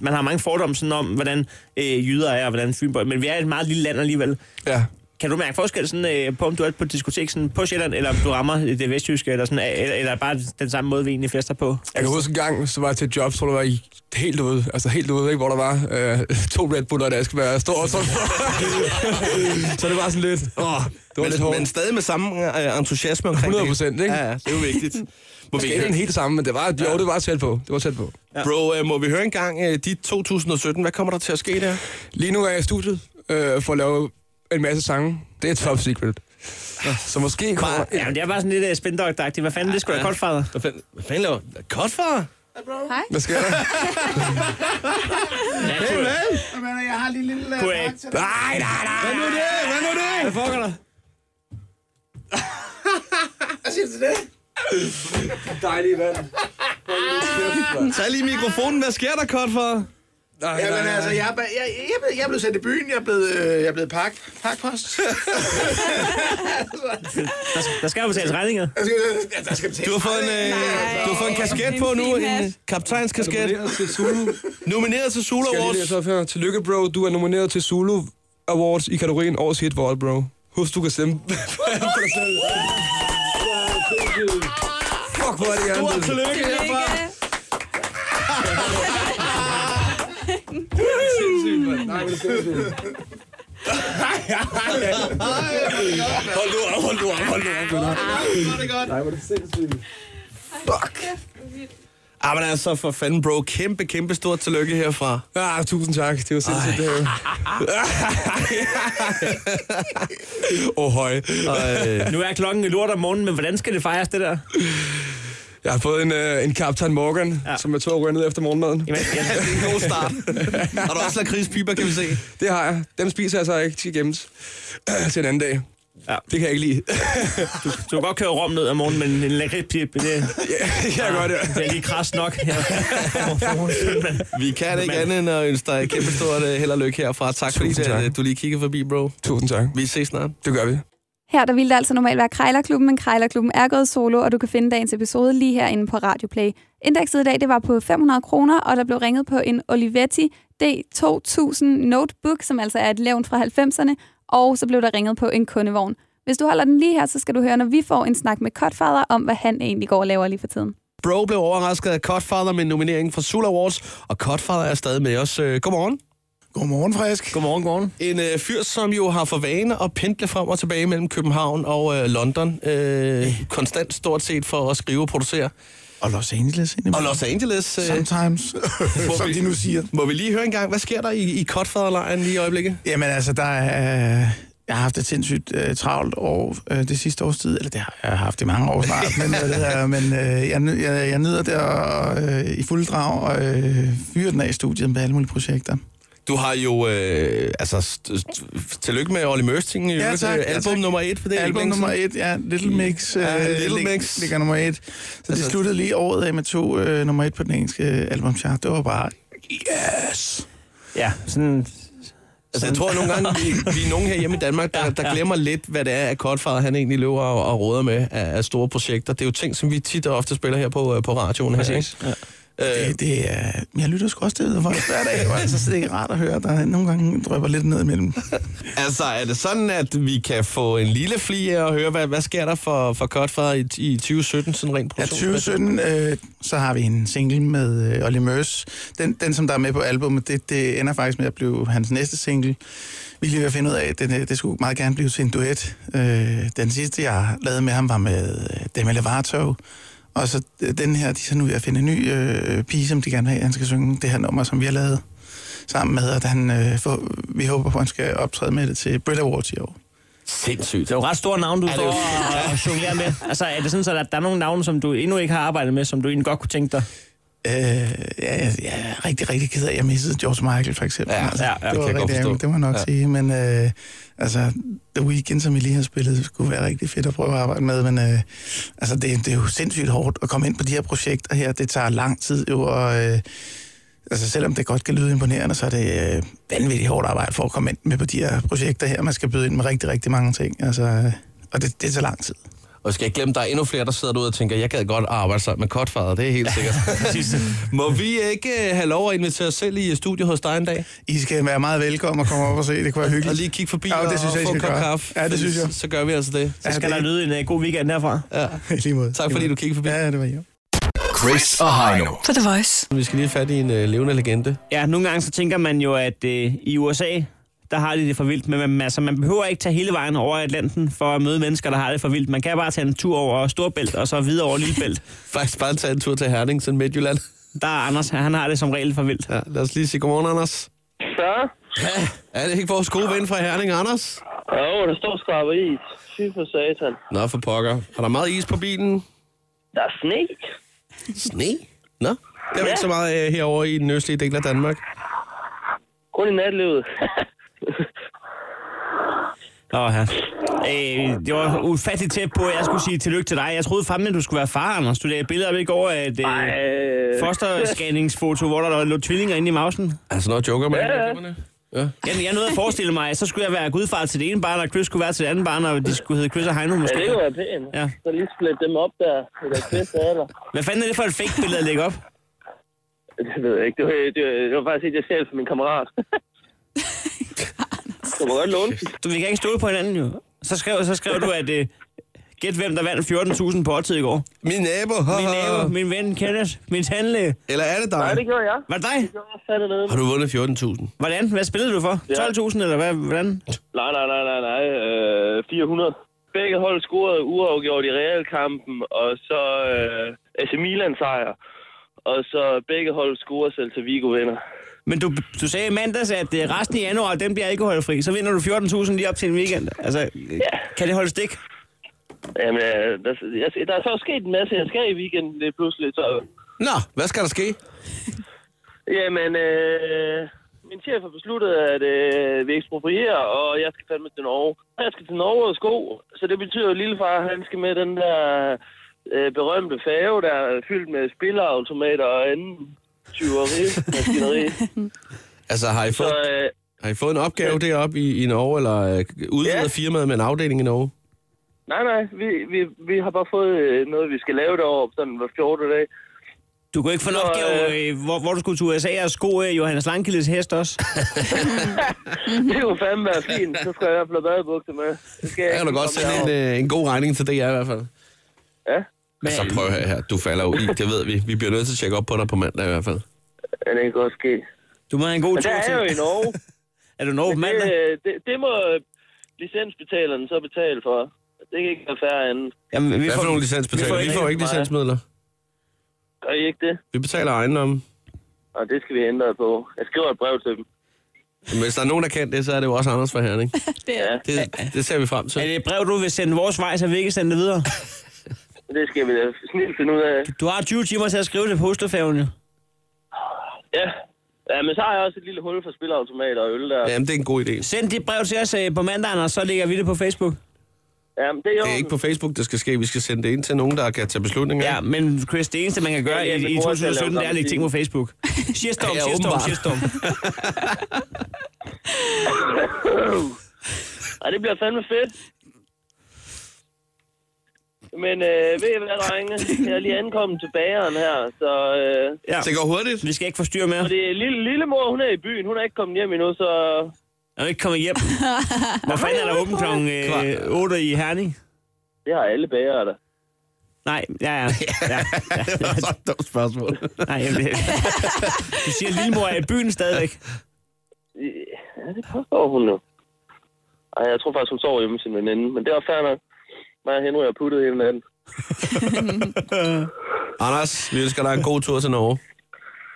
Speaker 4: man har mange fordomme sådan om, hvordan øh, jyder er, og hvordan Fynborg, men vi er et meget lille land alligevel.
Speaker 7: Ja.
Speaker 4: Kan du mærke forskel sådan, øh, på, om du er på et diskotek sådan, på Sjælland, eller om du rammer det vestjyske, eller, sådan, øh, eller, eller bare den samme måde, vi egentlig fester på?
Speaker 7: Jeg kan huske en gang, så var jeg til et job, tror jeg, var i helt ude, altså helt ude, ikke, hvor der var øh, to Red Bull og der skal være stor og så. så det var sådan lidt, åh, det var
Speaker 3: Men,
Speaker 7: lidt hårdt.
Speaker 3: men stadig med samme øh, entusiasme omkring
Speaker 7: 100%, ikke?
Speaker 3: Ja, ja, det er jo vigtigt. Må
Speaker 7: Måske ikke den helt samme, men det var, jo, det var tæt på. Det var tæt på.
Speaker 3: Bro, øh, må vi høre en gang, øh, dit 2017, hvad kommer der til at ske der?
Speaker 7: Lige nu er jeg i studiet øh, for at lave en masse sange. Det er top secret. Så måske kommer...
Speaker 4: Ja, men det er bare sådan lidt uh, spindokteragtigt. Hvad fanden, det skulle sgu da koldt
Speaker 3: Hvad fanden, hvad fanden laver Godfar?
Speaker 1: Hej.
Speaker 7: Hvad sker der? Nej, nej, nej!
Speaker 3: Hvad nu det? Hvad nu det?
Speaker 4: Hvad foregår der?
Speaker 7: Dejlige vand.
Speaker 3: Tag lige mikrofonen. Hvad sker der, Godfar?
Speaker 7: Nej, nej,
Speaker 8: Jamen altså,
Speaker 7: nej.
Speaker 8: jeg, er ba- jeg, jeg, er blevet- jeg er blevet sendt i byen, jeg er blevet, øh, jeg er blevet pak, pakpost.
Speaker 4: Der, der skal jo betales
Speaker 7: Altså-
Speaker 4: regninger.
Speaker 8: Jeg skal, jeg, der skal betale.
Speaker 3: Du har fået en, øh, du har fået en kasket
Speaker 1: en
Speaker 3: på nu.
Speaker 1: fin hat.
Speaker 3: En kaptajnskasket.
Speaker 7: til Zulu.
Speaker 3: Nomineret til Solo
Speaker 7: Skal jeg lige
Speaker 3: Awards.
Speaker 7: læse op her? Tillykke, bro. Du er nomineret til Zulu Awards i kategorien Årets Hit Vold, bro. Husk, du kan stemme på dig selv. Fuck, hvor er
Speaker 3: Stort
Speaker 7: det hjernet.
Speaker 3: tillykke herfra. Hold nu op, hold nu op, hold nu op. Hold nu op. Fuck. Ah, men altså, for fanden, bro. Kæmpe, kæmpe stort tillykke herfra.
Speaker 7: Ah, tusind tak. Det var sindssygt, det her. Åh, oh, høj.
Speaker 3: øh,
Speaker 7: Altså-
Speaker 4: Nu er klokken lort om morgenen, men hvordan skal det fejres, det der?
Speaker 7: Jeg har fået en, øh, en Captain Morgan,
Speaker 4: Ja.
Speaker 7: ja. som jeg tog og røg ned efter morgenmaden.
Speaker 4: Jamen, jeg,
Speaker 3: Det er en god start. Har du også lakridspiber, kan vi se?
Speaker 7: Det har jeg. Dem spiser jeg så ikke. De skal gemmes øh, til en anden dag.
Speaker 4: Ja.
Speaker 7: Det kan jeg ikke lide.
Speaker 4: Du kan godt køre rom ned om morgenen, men en lakridspip, det,
Speaker 7: ja, det kan jeg godt, ja.
Speaker 4: det er lige krast nok. Ja.
Speaker 3: Vi kan ikke
Speaker 4: Men-
Speaker 3: andet end at ønske dig et kæmpe stort uh, held og lykke herfra. Tak fordi
Speaker 7: Tusind
Speaker 3: tak.
Speaker 7: tak.
Speaker 3: At, øh, du lige kiggede forbi, bro.
Speaker 7: Tusind tak.
Speaker 3: Vi ses snart.
Speaker 7: Det gør vi.
Speaker 1: Her der ville det altså normalt være Krejlerklubben, men Krejlerklubben er gået solo, og du kan finde dagens episode lige herinde på Radioplay. Indekset i dag det var på 500 kroner, og der blev ringet på en Olivetti D2000 Notebook, som altså er et levn fra 90'erne, og så blev der ringet på en kundevogn. Hvis du holder den lige her, så skal du høre, når vi får en snak med Godfather om, hvad han egentlig går og laver lige for tiden.
Speaker 3: Bro blev overrasket af Cutfather med nomineringen fra Sula Awards, og Cutfather er stadig med os. Øh, Godmorgen.
Speaker 8: Godmorgen, Frisk.
Speaker 4: Godmorgen, godmorgen.
Speaker 3: En øh, fyr, som jo har for vane at pendle frem og tilbage mellem København og øh, London. Øh, konstant stort set for at skrive og producere.
Speaker 8: Og Los Angeles.
Speaker 3: Og Los Angeles. Øh,
Speaker 8: Sometimes, som
Speaker 3: vi-
Speaker 8: de nu siger.
Speaker 3: må vi lige høre en gang, hvad sker der i, i Cutfather-lejren lige i øjeblikket?
Speaker 8: Jamen altså, der er... øh, Jeg har haft et sindssygt øh, travlt år øh, det sidste års tid, eller det har jeg haft i mange år snart, men, øh, det er, men øh, jeg, nø- jeg, jeg nyder det og, øh, i fuld drag og øh, fyrer den af i studiet med alle mulige projekter.
Speaker 3: Du har jo, øh, altså, st- st- tillykke med Olly Mørsting, i øvrigt, øh, album nummer et, for det er ikke
Speaker 8: Album
Speaker 3: længe
Speaker 8: nummer
Speaker 3: siden.
Speaker 8: et, ja. Little Mix.
Speaker 3: Ja,
Speaker 8: øh,
Speaker 3: Little
Speaker 8: lig-
Speaker 3: Mix.
Speaker 8: Ligger nummer et. Så altså,
Speaker 3: Altså-
Speaker 8: det sluttede lige året af med to øh, nummer et på den engelske albumchart. Det var bare... Yes!
Speaker 4: Ja, sådan...
Speaker 3: Altså, jeg tror nogle gange, vi, vi er nogen her hjemme i Danmark, der, der glemmer lidt, hvad det er, at Kortfader han egentlig løber og, og råder med af, af store projekter. Det er jo ting, som vi tit og ofte spiller her på, øh, på radioen. Her, ikke?
Speaker 4: Præcis. Ja.
Speaker 3: Øh,
Speaker 8: Det, det er... Men jeg lytter sgu også til det for hver dag. Og altså, så det er rart at høre, at der nogle gange drøber lidt ned imellem.
Speaker 3: altså, er det sådan, at vi kan få en lille flie og høre, hvad, hvad sker der for, for Kortfader i, i 2017, sådan rent
Speaker 8: Ja,
Speaker 3: produktionsmæssigt?
Speaker 8: 2017, øh, så har vi en single med øh, Olly Mørs. Den, den, som der er med på albumet, det, det ender faktisk med at blive hans næste single. Vi er lige ved at finde ud af, at den, øh, det skulle meget gerne blive til en duet. Øh, den sidste, jeg lavede med ham, var med øh, Demi Lovato. Og så øh, den her, de er så nu ved at finde en ny øh, pige, som de gerne vil have, han skal synge det her nummer, som vi har lavet sammen med, og at han, øh, får, vi håber på, at han skal optræde med det til Brit Awards i år.
Speaker 3: Sindssygt.
Speaker 4: Det er jo ret store navne, du
Speaker 3: det
Speaker 4: står
Speaker 3: er jo-
Speaker 4: og- og jonglerer med. Altså, er det sådan, så at der er nogle navne, som du endnu ikke har arbejdet med, som du egentlig godt kunne tænke dig?
Speaker 8: Øh, ja, jeg, jeg er rigtig, rigtig ked af, at jeg missede George Michael, for eksempel.
Speaker 3: Ja,
Speaker 8: altså,
Speaker 4: ja, ja, det
Speaker 8: det,
Speaker 3: kan
Speaker 8: var
Speaker 3: jeg godt
Speaker 8: rigtig
Speaker 3: forstå.
Speaker 8: ærgerligt, det må jeg nok
Speaker 3: Ja.
Speaker 8: ja. sige. Men øh, altså, The Weeknd, som vi lige har spillet, skulle være rigtig fedt at prøve at arbejde med. Men øh, altså, det, det er jo sindssygt hårdt at komme ind på de her projekter her. Det tager lang tid jo, og... Øh, Altså selvom det godt kan lyde imponerende, så er det øh, vanvittigt hårdt arbejde for at komme ind med på de her projekter her. Man skal byde ind med rigtig, rigtig mange ting, altså, øh, og det, det tager lang tid.
Speaker 3: Og skal jeg ikke glemme, der er endnu flere, der sidder derude og tænker, jeg gad godt arbejde sammen med Kortfader, det er helt sikkert. Må vi ikke øh, have lov at invitere os selv i øh, studiet hos dig en dag?
Speaker 8: I skal være meget velkommen og komme op og se, det kunne være hyggeligt.
Speaker 3: Og lige kigge forbi
Speaker 8: Ja, det
Speaker 3: og-
Speaker 8: synes jeg, I
Speaker 3: og få en
Speaker 8: skal
Speaker 3: kop
Speaker 8: gøre.
Speaker 3: kaffe.
Speaker 8: Ja, det
Speaker 3: fordi
Speaker 8: synes jeg.
Speaker 3: Så, så gør vi altså det.
Speaker 4: Så skal der lyde en øh, god weekend herfra.
Speaker 8: I lige måde.
Speaker 3: Tak fordi du kiggede forbi.
Speaker 8: Ja, det var jo.
Speaker 5: Chris og Heino.
Speaker 6: På The Voice.
Speaker 3: Vi skal lige have fat i en øh, levende legende.
Speaker 4: Ja, nogle gange så tænker man jo, at øh, i USA, der har de det for vildt, men man, altså, man behøver ikke tage hele vejen over Atlanten for at møde mennesker, der har det for vildt. Man kan bare tage en tur over Storbælt og så videre over Lillebælt.
Speaker 3: Faktisk bare tage en tur til Herning, sådan Midtjylland.
Speaker 4: Der er Anders, han har det som regel for vildt.
Speaker 3: Ja, lad os lige sige godmorgen, Anders.
Speaker 9: Så?
Speaker 3: Ja, er det ikke vores gode ven fra Herning, Anders?
Speaker 9: Jo, der står skraber i. Fy for satan.
Speaker 3: Nå, for pokker. Er der meget is på bilen?
Speaker 9: Der er sne.
Speaker 3: Sne? Nå, det er jo ikke så meget øh, herovre i den østlige del af Danmark.
Speaker 9: Kun i natlivet.
Speaker 4: Åh, ja. Øh, det var ufatteligt tæt på, at jeg skulle sige tillykke til dig. Jeg troede fandme, at du skulle være far, Anders. Du lavede billeder op i går af et øh,
Speaker 9: Øh,
Speaker 4: fosterscanningsfoto, hvor der lå tvillinger inde i mausen.
Speaker 3: Altså, når joker man. Ja, ja.
Speaker 4: Jeg, jeg nåede at forestille mig, at så skulle jeg være gudfar til det ene barn, og Chris skulle være til det andet barn, og de skulle hedde Chris og Heino
Speaker 9: ja,
Speaker 4: måske.
Speaker 9: det kunne være pænt.
Speaker 4: Ja.
Speaker 9: Ja. Så lige splitte dem op der i deres bedste alder.
Speaker 4: Hvad fanden er det for et fake billede at lægge op?
Speaker 9: Det ved jeg ikke. Det var, det var, det var faktisk et, jeg selv for min kammerat. Du må godt låne den.
Speaker 4: Du, vi kan ikke stole på hinanden jo. Så skrev, så skrev du, at øh, gæt hvem, der vandt 14.000 på oddtid i går.
Speaker 3: Min nabo,
Speaker 4: Min nabo, min ven Kenneth, min tandlæge.
Speaker 3: Eller er det dig?
Speaker 9: Nej, det gjorde jeg.
Speaker 4: Var det dig?
Speaker 9: Det gjorde jeg fandt nede.
Speaker 3: Har du vundet 14.000?
Speaker 4: Hvordan? Hvad spillede du for? 12.000 eller hvad? Hvordan?
Speaker 9: Nej, nej, nej, nej, nej. Øh, 400. Begge hold scorede uafgjort i realkampen, og så øh, AC Milan sejr. Og så begge hold scorer selv til Vigo vinder.
Speaker 4: Men du, du sagde i mandags, at øh, resten i januar, den bliver alkoholfri. Så vinder du 14.000 lige op til en weekend. Altså, øh, kan det holde stik?
Speaker 9: Jamen, øh, der, jeg, der er så sket en masse, jeg skal i weekenden lige pludselig. Så,
Speaker 3: Nå, hvad skal der ske?
Speaker 9: jamen, øh, Min chef har besluttet, at øh, vi eksproprierer, og jeg skal fandme til Norge. Og Jeg skal til Norge og sko, så det betyder, at lillefar han skal med den der øh, berømte fave, der er fyldt med spillerautomater og anden tyveri. maskineri.
Speaker 3: Altså, har I
Speaker 9: så
Speaker 3: fået,
Speaker 9: øh,
Speaker 3: har I fået en opgave deroppe i, i Norge, eller øh, udvider
Speaker 9: Ja.
Speaker 3: firmaet med en afdeling i Norge?
Speaker 9: nej, nej, vi, vi, vi har bare fået øh, noget, vi skal lave deroppe sådan hver 14. dag.
Speaker 4: Du kunne ikke få en
Speaker 9: Så,
Speaker 4: opgave, øh, hvor, hvor du skulle til USA og sko øh, Johannes Langkildes hest også.
Speaker 3: Mhm.
Speaker 9: Det kunne fandme være fint, så skal jeg i hvert fald have badebukser med. Det skal jeg
Speaker 3: Jeg kan
Speaker 9: ikke
Speaker 3: da godt
Speaker 9: komme
Speaker 3: sende en,
Speaker 9: deroppe.
Speaker 3: øh, en god regning til DR i hvert fald.
Speaker 9: Ja,
Speaker 3: Men... Så prøv her, her, du falder jo i, det ved vi. Vi bliver nødt til at tjekke op på dig på mandag i hvert fald.
Speaker 9: ja, det kan godt ske.
Speaker 4: Du må have en god
Speaker 9: Men
Speaker 4: tur
Speaker 9: der er
Speaker 4: til.
Speaker 9: jeg jo i Norge.
Speaker 4: Er du Norge på mandag?
Speaker 9: Det, det, det må licensbetaleren så betale for. Det kan ikke være færre end.
Speaker 4: Jamen, vi
Speaker 3: Hvad for nogle licensbetalinger? Vi får ikke
Speaker 9: meget.
Speaker 3: licensmidler.
Speaker 9: Gør I ikke det?
Speaker 3: Vi betaler ejendommen.
Speaker 9: Og det skal vi ændre på. Jeg skriver et brev til dem.
Speaker 3: Men hvis der er nogen, der kan det, så er det jo også Anders fra Herning.
Speaker 9: Ja,
Speaker 3: Det, det ser vi frem
Speaker 4: Er
Speaker 3: til.
Speaker 4: det et brev, du vil sende vores vej, så vi ikke kan sende det videre?
Speaker 9: det skal vi da snilt finde ud af.
Speaker 4: Du har 20 timer til at skrive det på Oslofærgen, jo.
Speaker 9: Ja. ja, men så har jeg også et lille hul for spilleautomater og øl der. Ja.
Speaker 3: Jamen, det er en god idé.
Speaker 4: Send dit brev til os øh, på mandag, Anders, så lægger vi det på Facebook.
Speaker 9: Jamen, det er jo...
Speaker 3: Det er ikke på Facebook, det skal ske. Vi skal sende det ind til nogen, der kan tage beslutninger.
Speaker 4: Ja, men Chris, det eneste, man kan gøre
Speaker 9: Ja, ja,
Speaker 4: i,
Speaker 9: min
Speaker 4: i
Speaker 9: bror skal lave
Speaker 4: 2017, det er at lægge ting på
Speaker 9: graffiti.
Speaker 4: Facebook. Shitstorm,
Speaker 3: Ja,
Speaker 4: shitstorm,
Speaker 3: åbenbart.
Speaker 4: shitstorm.
Speaker 9: Ej, det bliver fandme fedt. Men øh, ved I hvad, drenge? Jeg er lige ankommet til bageren her, så... Øh,
Speaker 4: Ja.
Speaker 3: Det går hurtigt.
Speaker 4: Vi skal ikke forstyrre mere.
Speaker 9: fordi lille, lille mor, hun er i byen. Hun er ikke kommet hjem endnu, så...
Speaker 4: Jeg er ikke kommet hjem. Hvor fanden er der åben klokken øh, 8 i Herning?
Speaker 9: Det har alle bagere der.
Speaker 4: Nej, ja, ja. ja, ja.
Speaker 3: Det var så et dumt spørgsmål.
Speaker 4: Nej, jeg, ved- du siger, at lillemor er i byen stadigvæk.
Speaker 9: Ja, det påstår hun nu. Ej, jeg tror faktisk, hun sover hjemme med sin veninde, men det var fair nok. Mig og Henry har puttet hele natten.
Speaker 3: Anders, vi ønsker dig en god tur til Norge.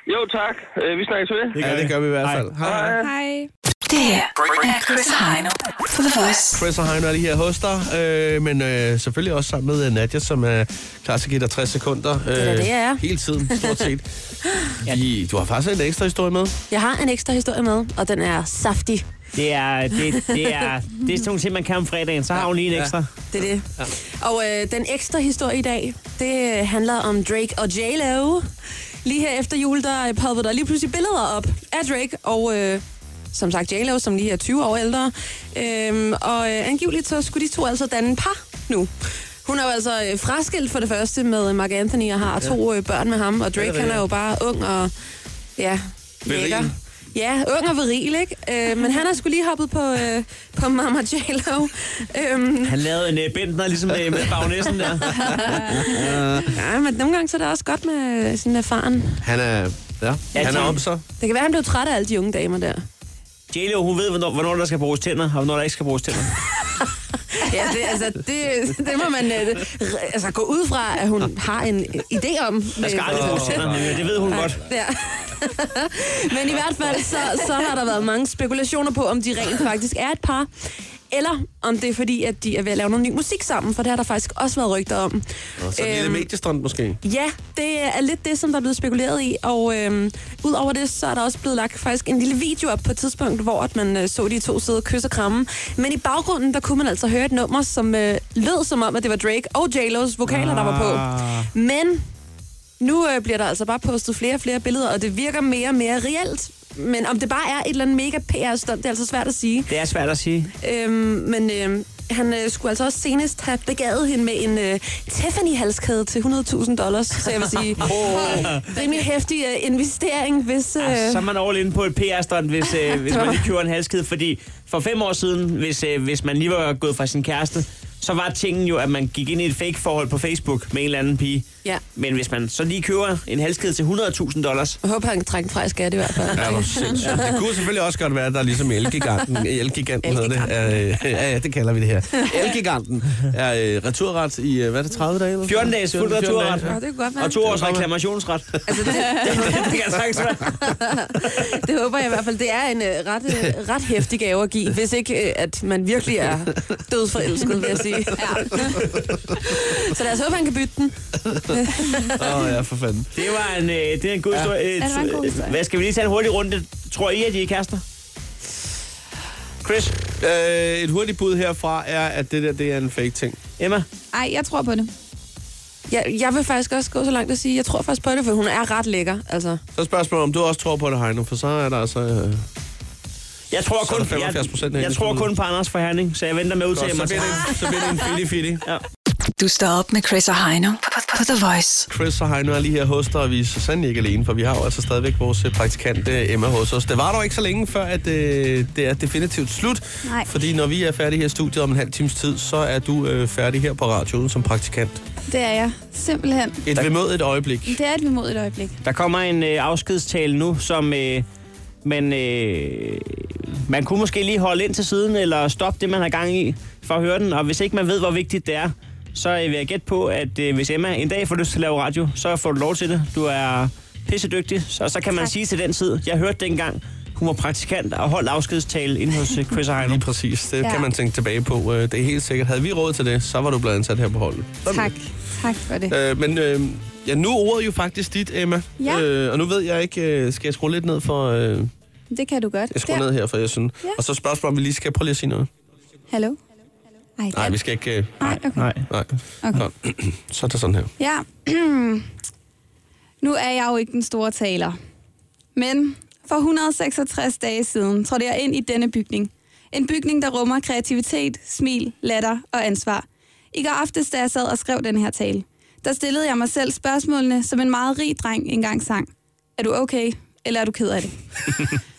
Speaker 9: Jo, tak. Øh, vi snakkes ved.
Speaker 3: Ja, det gør vi i hvert fald. Hej. hej.
Speaker 1: Hej.
Speaker 6: Det her er Chris og Heino på The Voice.
Speaker 3: Chris og Heino er lige her hos dig, øh, men øh, selvfølgelig også sammen med øh, Nadia, som er klar til at give dig 60 sekunder. Øh, det
Speaker 10: da det, jeg er.
Speaker 3: Hele tiden, stort set. I, du har faktisk en ekstra historie med.
Speaker 10: Jeg har en ekstra historie med, og den er saftig.
Speaker 4: Det er, det, det er, det er sådan nogle ting, man kan om fredagen. Så har hun lige en ekstra.
Speaker 10: Det er det. Ja. Og øh, den ekstra historie i dag, det øh, handler om Drake og J-Lo. Lige her efter jul, der øh, poppede der lige pludselig billeder op af Drake og... Øh, som sagt J-Lo, som lige er 20 år ældre. Øhm, og øh, angiveligt så skulle de to altså danne par nu. Hun er jo altså øh, fraskilt for det første med Mark Anthony og har to øh, børn med ham. Og Drake, han er jo bare ung og ja,
Speaker 3: Viril.
Speaker 10: lækker. Ja, ung og viril, ikke? Øh, men han har skulle lige hoppet på, øh, på Mama J-Lo. Øhm,
Speaker 4: Han lavede en øh, bindner, ligesom øh, med bagnæssen der.
Speaker 10: Ja, men nogle gange så er det også godt med øh, sådan en erfaren.
Speaker 3: Han er, ja,
Speaker 4: Ja,
Speaker 3: han er
Speaker 4: tak.
Speaker 3: om sig.
Speaker 10: Det kan være, han blev træt af alle de unge damer der.
Speaker 4: J-Lo, hun ved, hvornår, hvornår der skal bruges tænder, og hvornår der ikke skal bruges tænder.
Speaker 10: Ja, det, altså, det, det må man øh, re- altså, gå ud fra, at hun har en øh, idé om.
Speaker 4: Der skal aldrig bruges tænder, men det ved hun godt.
Speaker 10: Ja. men i hvert fald, så, så har der været mange spekulationer på, om de rent faktisk er et par. Eller om det er fordi, at de er ved at lave noget ny musik sammen, for det har der faktisk også været rygter om.
Speaker 3: Og så en lille
Speaker 10: Øhm,
Speaker 3: mediestrand måske.
Speaker 10: Ja, det er lidt det, som der er blevet spekuleret i, og øhm, udover det, så er der også blevet lagt faktisk en lille video op på et tidspunkt, hvor at man øh, så de to sidde og kysse og kramme. Men i baggrunden, der kunne man altså høre et nummer, som øh, lød som om, at det var Drake og J-Lo's vokaler, der var på.
Speaker 4: Ah.
Speaker 10: Men nu øh, bliver der altså bare postet flere og flere billeder, og det virker mere og mere reelt. Men om det bare er et eller andet mega PR-stunt, det er altså svært at sige.
Speaker 4: Det er svært at sige.
Speaker 10: Øhm, men øhm, han øh, skulle altså også senest have begavet hende med en øh, Tiffany-halskæde til 100.000 dollars. Så jeg vil sige, rimelig hæftig øh, investering, hvis... Øh,
Speaker 4: Ah, Så er man all inde på et PR-stunt, hvis,
Speaker 10: Ah,
Speaker 4: øh, hvis man lige køber en halskede. Fordi for fem år siden, hvis, øh, hvis man lige var gået fra sin kæreste, så var tingen jo, at man gik ind i et fake-forhold på Facebook med en eller anden pige.
Speaker 10: Ja.
Speaker 4: Men hvis man så lige køber en halskede til 100.000 dollars,
Speaker 10: jeg håber, han kan trække den fra i skat i hvert fald.
Speaker 3: Ja, hvor sindssygt. Det kunne selvfølgelig også godt være, at der er ligesom Elgiganten. Elgiganten hedder det. Øh, Ja, ja, det kalder vi det her. Elgiganten er øh, returret i, øh, hvad er det, 30 dage? Eller?
Speaker 4: 14 dages fuld
Speaker 3: 14 dage.
Speaker 4: returret.
Speaker 10: Nå, det kunne godt være.
Speaker 4: og to års reklamationsret.
Speaker 10: Altså, det,
Speaker 4: det kan sagtens være.
Speaker 10: det håber jeg i hvert fald. Det er en øh, ret, øh, ret hæftig gave at give, hvis ikke øh, at man virkelig er dødforelsket, vil jeg sige. Så lad os håbe, han kan bytte den.
Speaker 3: Åh, oh, ja, for fanden.
Speaker 4: Det var en, øh, det er en god
Speaker 10: Ja.
Speaker 4: historie.
Speaker 10: Ja, det var en god historie.
Speaker 4: Hvad skal vi lige tage en hurtig runde? Tror I, at de er kærester? Chris?
Speaker 3: Øh, et hurtigt bud herfra er, at det der det er en fake ting.
Speaker 4: Emma?
Speaker 1: Ej, jeg tror på det.
Speaker 10: Jeg, jeg vil faktisk også gå så langt at sige, jeg tror faktisk på det, for hun er ret lækker. Altså.
Speaker 3: Så er spørgsmålet, om du også tror på det, Heino, for så er der altså... Øh...
Speaker 4: Jeg tror
Speaker 3: Så er
Speaker 4: kun,
Speaker 3: der 75%
Speaker 4: jeg,
Speaker 3: herinde,
Speaker 4: jeg tror
Speaker 3: skulle
Speaker 4: kun på Anders fra Herning, så jeg venter med at udtale mig.
Speaker 3: Godt, så bliver det en- så bliver det en fitty-fitty.
Speaker 4: Ja.
Speaker 6: Du står op med Chris og Heino på, på The Voice.
Speaker 3: Chris og Heino er lige her hos dig, og vi er så sandelig ikke alene, for vi har jo altså stadigvæk vores øh, praktikant øh, Emma hos os. Det var dog ikke så længe før, at øh, det er definitivt slut.
Speaker 1: Nej.
Speaker 3: Fordi når vi er færdige her i studiet om en halv times tid, så er du øh, færdig her på radioen som praktikant.
Speaker 1: Det er jeg. Simpelthen.
Speaker 3: Et vemodigt øjeblik.
Speaker 1: Det er et vemodigt øjeblik.
Speaker 4: Der kommer en øh, afskedstale nu, som øh, man, øh, man kunne måske lige holde ind til siden, eller stoppe det, man har gang i, for at høre den. Og hvis ikke man ved, hvor vigtigt det er, så øh, vil jeg gætte på, at øh, hvis Emma en dag får lyst til at lave radio, så får du lov til det. Du er pissedygtig, så, så kan man
Speaker 1: Tak.
Speaker 4: sige til den tid, jeg hørte dengang, hun var praktikant og holdt afskedstale inde hos øh, Chris og Heino.
Speaker 3: Lige præcis. Det
Speaker 1: Ja.
Speaker 3: ja. kan man tænke tilbage på. Øh, Det er helt sikkert. Havde vi råd til det, så var du blevet ansat her på holdet. Sådan.
Speaker 1: Tak. Tak for det.
Speaker 3: Øh, men øh, ja, nu er ordet jo faktisk dit, Emma.
Speaker 1: Ja.
Speaker 3: Øh, og nu ved jeg ikke, øh, skal jeg skrue lidt ned for... Øh,
Speaker 1: Det kan du godt.
Speaker 3: jeg skruer
Speaker 1: Der.
Speaker 3: ned her, for jeg synes.
Speaker 1: Ja.
Speaker 3: Ja. Og så spørgsmålet, om vi lige skal prøve lige at sige noget.
Speaker 1: Hallo? Ej,
Speaker 3: Nej, vi skal ikke... Øh,
Speaker 1: Nej, okay.
Speaker 4: Nej.
Speaker 3: nej.
Speaker 1: Okay.
Speaker 3: Nå. Så er det sådan her.
Speaker 1: Ja. nu er jeg jo ikke den store taler. Men for 166 dage siden trådte jeg ind i denne bygning. En bygning, der rummer kreativitet, smil, latter og ansvar. I går aftes, da jeg sad og skrev den her tale, der stillede jeg mig selv spørgsmålene, som en meget rig dreng engang sang. Er du okay, eller er du ked af det?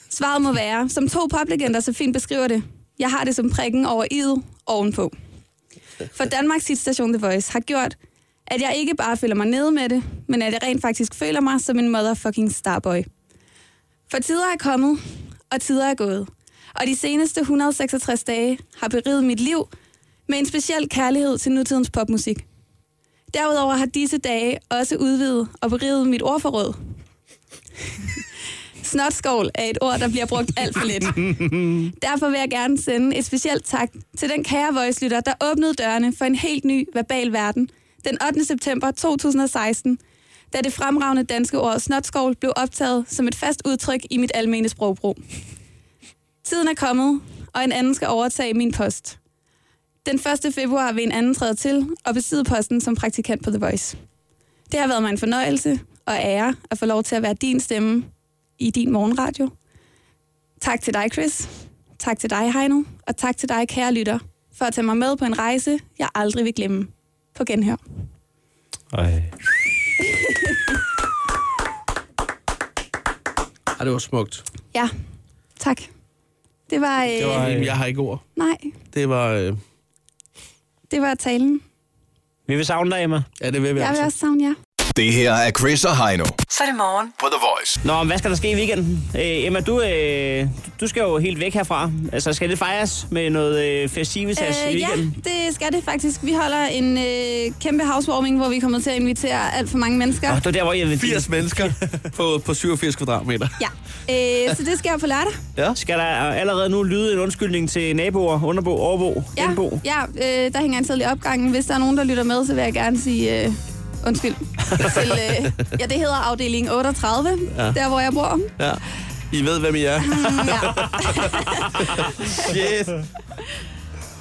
Speaker 1: Svaret må være, som to poplegender så fint beskriver det, jeg har det som prikken over i'et ovenpå. For Danmarks hitstation The Voice har gjort, at jeg ikke bare føler mig nede med det, men at jeg rent faktisk føler mig som en motherfucking starboy. For tider er kommet, og tider er gået. Og de seneste 166 dage har beriget mit liv med en speciel kærlighed til nutidens popmusik. Derudover har disse dage også udvidet og beriget mit ordforråd. Snotskål er et ord, der bliver brugt alt for lidt. Derfor vil jeg gerne sende et specielt tak til den kære voice-lytter, der åbnede dørene for en helt ny verbal verden den 8. september 2016, da det fremragende danske ord snotskål blev optaget som et fast udtryk i mit almene sprogbrug. Tiden er kommet, og en anden skal overtage min post. Den 1. februar vil en anden træde til og besidde posten som praktikant på The Voice. Det har været mig en fornøjelse og ære at få lov til at være din stemme i din morgenradio. Tak til dig, Chris. Tak til dig, Heino. Og tak til dig, kære lytter, for at tage mig med på en rejse, jeg aldrig vil glemme. På genhør.
Speaker 4: Ej.
Speaker 3: Ej, det var smukt.
Speaker 1: Ja, tak. Det var... Øh,
Speaker 3: Det var, øh, jeg har ikke ord.
Speaker 1: Nej,
Speaker 3: Det var... Øh,
Speaker 1: det var talen.
Speaker 4: Vi vil savne dig, Emma.
Speaker 3: ja, det vil vi
Speaker 1: Jeg vil
Speaker 3: altså.
Speaker 1: også savne jer.
Speaker 5: Det her er Chris og Heino
Speaker 6: Så er det morgen.
Speaker 5: på The Voice.
Speaker 4: Nå, men hvad skal der ske i weekenden? Øh, Emma, du, øh, du skal jo helt væk herfra. Altså, skal det fejres med noget øh, festivitas øh, i
Speaker 1: ja,
Speaker 4: weekenden?
Speaker 1: det skal det faktisk. Vi holder en øh, kæmpe housewarming, hvor vi kommer til at invitere alt for mange mennesker.
Speaker 3: Ah.
Speaker 4: Ja. Oh, det var der, hvor jeg vil
Speaker 3: 80 mennesker på, på 87 kvadratmeter.
Speaker 1: Ja, øh, så det sker på lørdag.
Speaker 4: Ja. Skal der allerede nu lyde en undskyldning til naboer, underbo, overbo,
Speaker 1: Ja,
Speaker 4: indbo?
Speaker 1: ja øh, der hænger en tidlig opgangen. Hvis der er nogen, der lytter med, så vil jeg gerne sige øh, undskyld. Til, øh, ja, det hedder afdeling 38, ja. der hvor jeg bor.
Speaker 3: Ja. I ved, hvem I er.
Speaker 1: Mm, ja.
Speaker 3: Shit.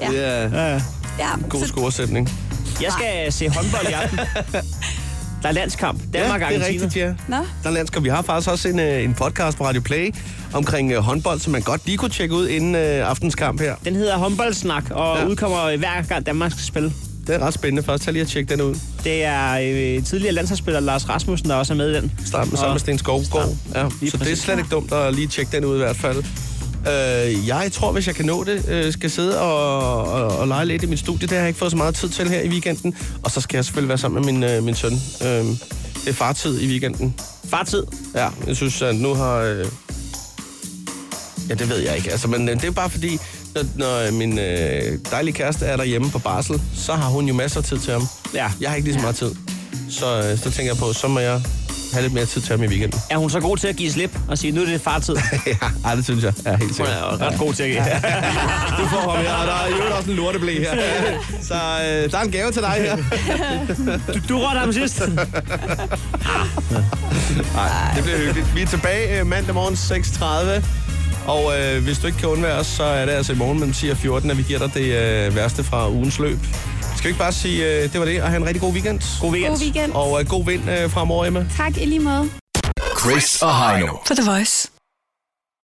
Speaker 1: Ja.
Speaker 3: Det er
Speaker 4: Ja.
Speaker 1: ja.
Speaker 3: god
Speaker 1: Så,
Speaker 3: scoresætning.
Speaker 4: Jeg skal se håndbold i aften. Der er landskamp. Danmark
Speaker 3: ja, det er rigtigt, ja.
Speaker 1: nå,
Speaker 3: Der er landskamp. Vi har faktisk også en, øh, en podcast på Radio Play omkring øh, håndbold, som man godt lige kunne tjekke ud inden øh, aftens kamp her.
Speaker 4: Den hedder håndboldsnak, og
Speaker 3: Ja.
Speaker 4: ja. udkommer hver gang Danmark skal spille.
Speaker 3: Det er ret spændende for os. Tag lige og tjek den ud.
Speaker 4: Det er øh, tidligere landsholdsspiller Lars Rasmussen, der også er med i den.
Speaker 3: Sammen, sammen med Sten Skovgaard. Ja,
Speaker 4: Lige
Speaker 3: så det er
Speaker 4: præcis.
Speaker 3: slet ikke dumt at lige tjekke den ud i hvert fald. Øh, jeg tror, hvis jeg kan nå det, øh, skal sidde og, og, og lege lidt i mit studie. Det har jeg ikke fået så meget tid til her i weekenden. Og så skal jeg selvfølgelig være sammen med min, øh, min søn. Øh, det er fartid i weekenden.
Speaker 4: Fartid.
Speaker 3: Ja, jeg synes, at nu har... Øh... Ja, det ved jeg ikke. Altså, men øh, det er bare fordi, når, når øh, min øh, dejlige kæreste er derhjemme på barsel, så har hun jo masser af tid til ham.
Speaker 4: Ja.
Speaker 3: Jeg har ikke lige så meget tid. Så, øh, så tænker jeg på, så må jeg have lidt mere tid til ham i weekenden.
Speaker 4: Er hun så god til at give slip og sige, nu er det fartid?
Speaker 3: ja, ej, det synes jeg. Ja, helt sikkert.
Speaker 4: Hun er jo ret god til at give.
Speaker 3: du får ham her, og der er jo også en lorteblæ her. Så øh, der er en gave til dig her.
Speaker 4: Du, du rådte ham sidst.
Speaker 3: Nej, det bliver hyggeligt. Vi er tilbage øh, mandag morgen 6.30. Og øh, hvis du ikke kan undvære os, så er det altså i morgen mellem 10 og 14, at vi giver dig det øh, værste fra ugens løb. Skal vi ikke bare sige, øh, det var det, og have en rigtig god weekend.
Speaker 4: God weekend.
Speaker 1: God weekend.
Speaker 3: Og øh, god vind øh, fremover, Emma.
Speaker 1: Tak i lige måde.
Speaker 5: Chris og Heino.
Speaker 6: På The Voice.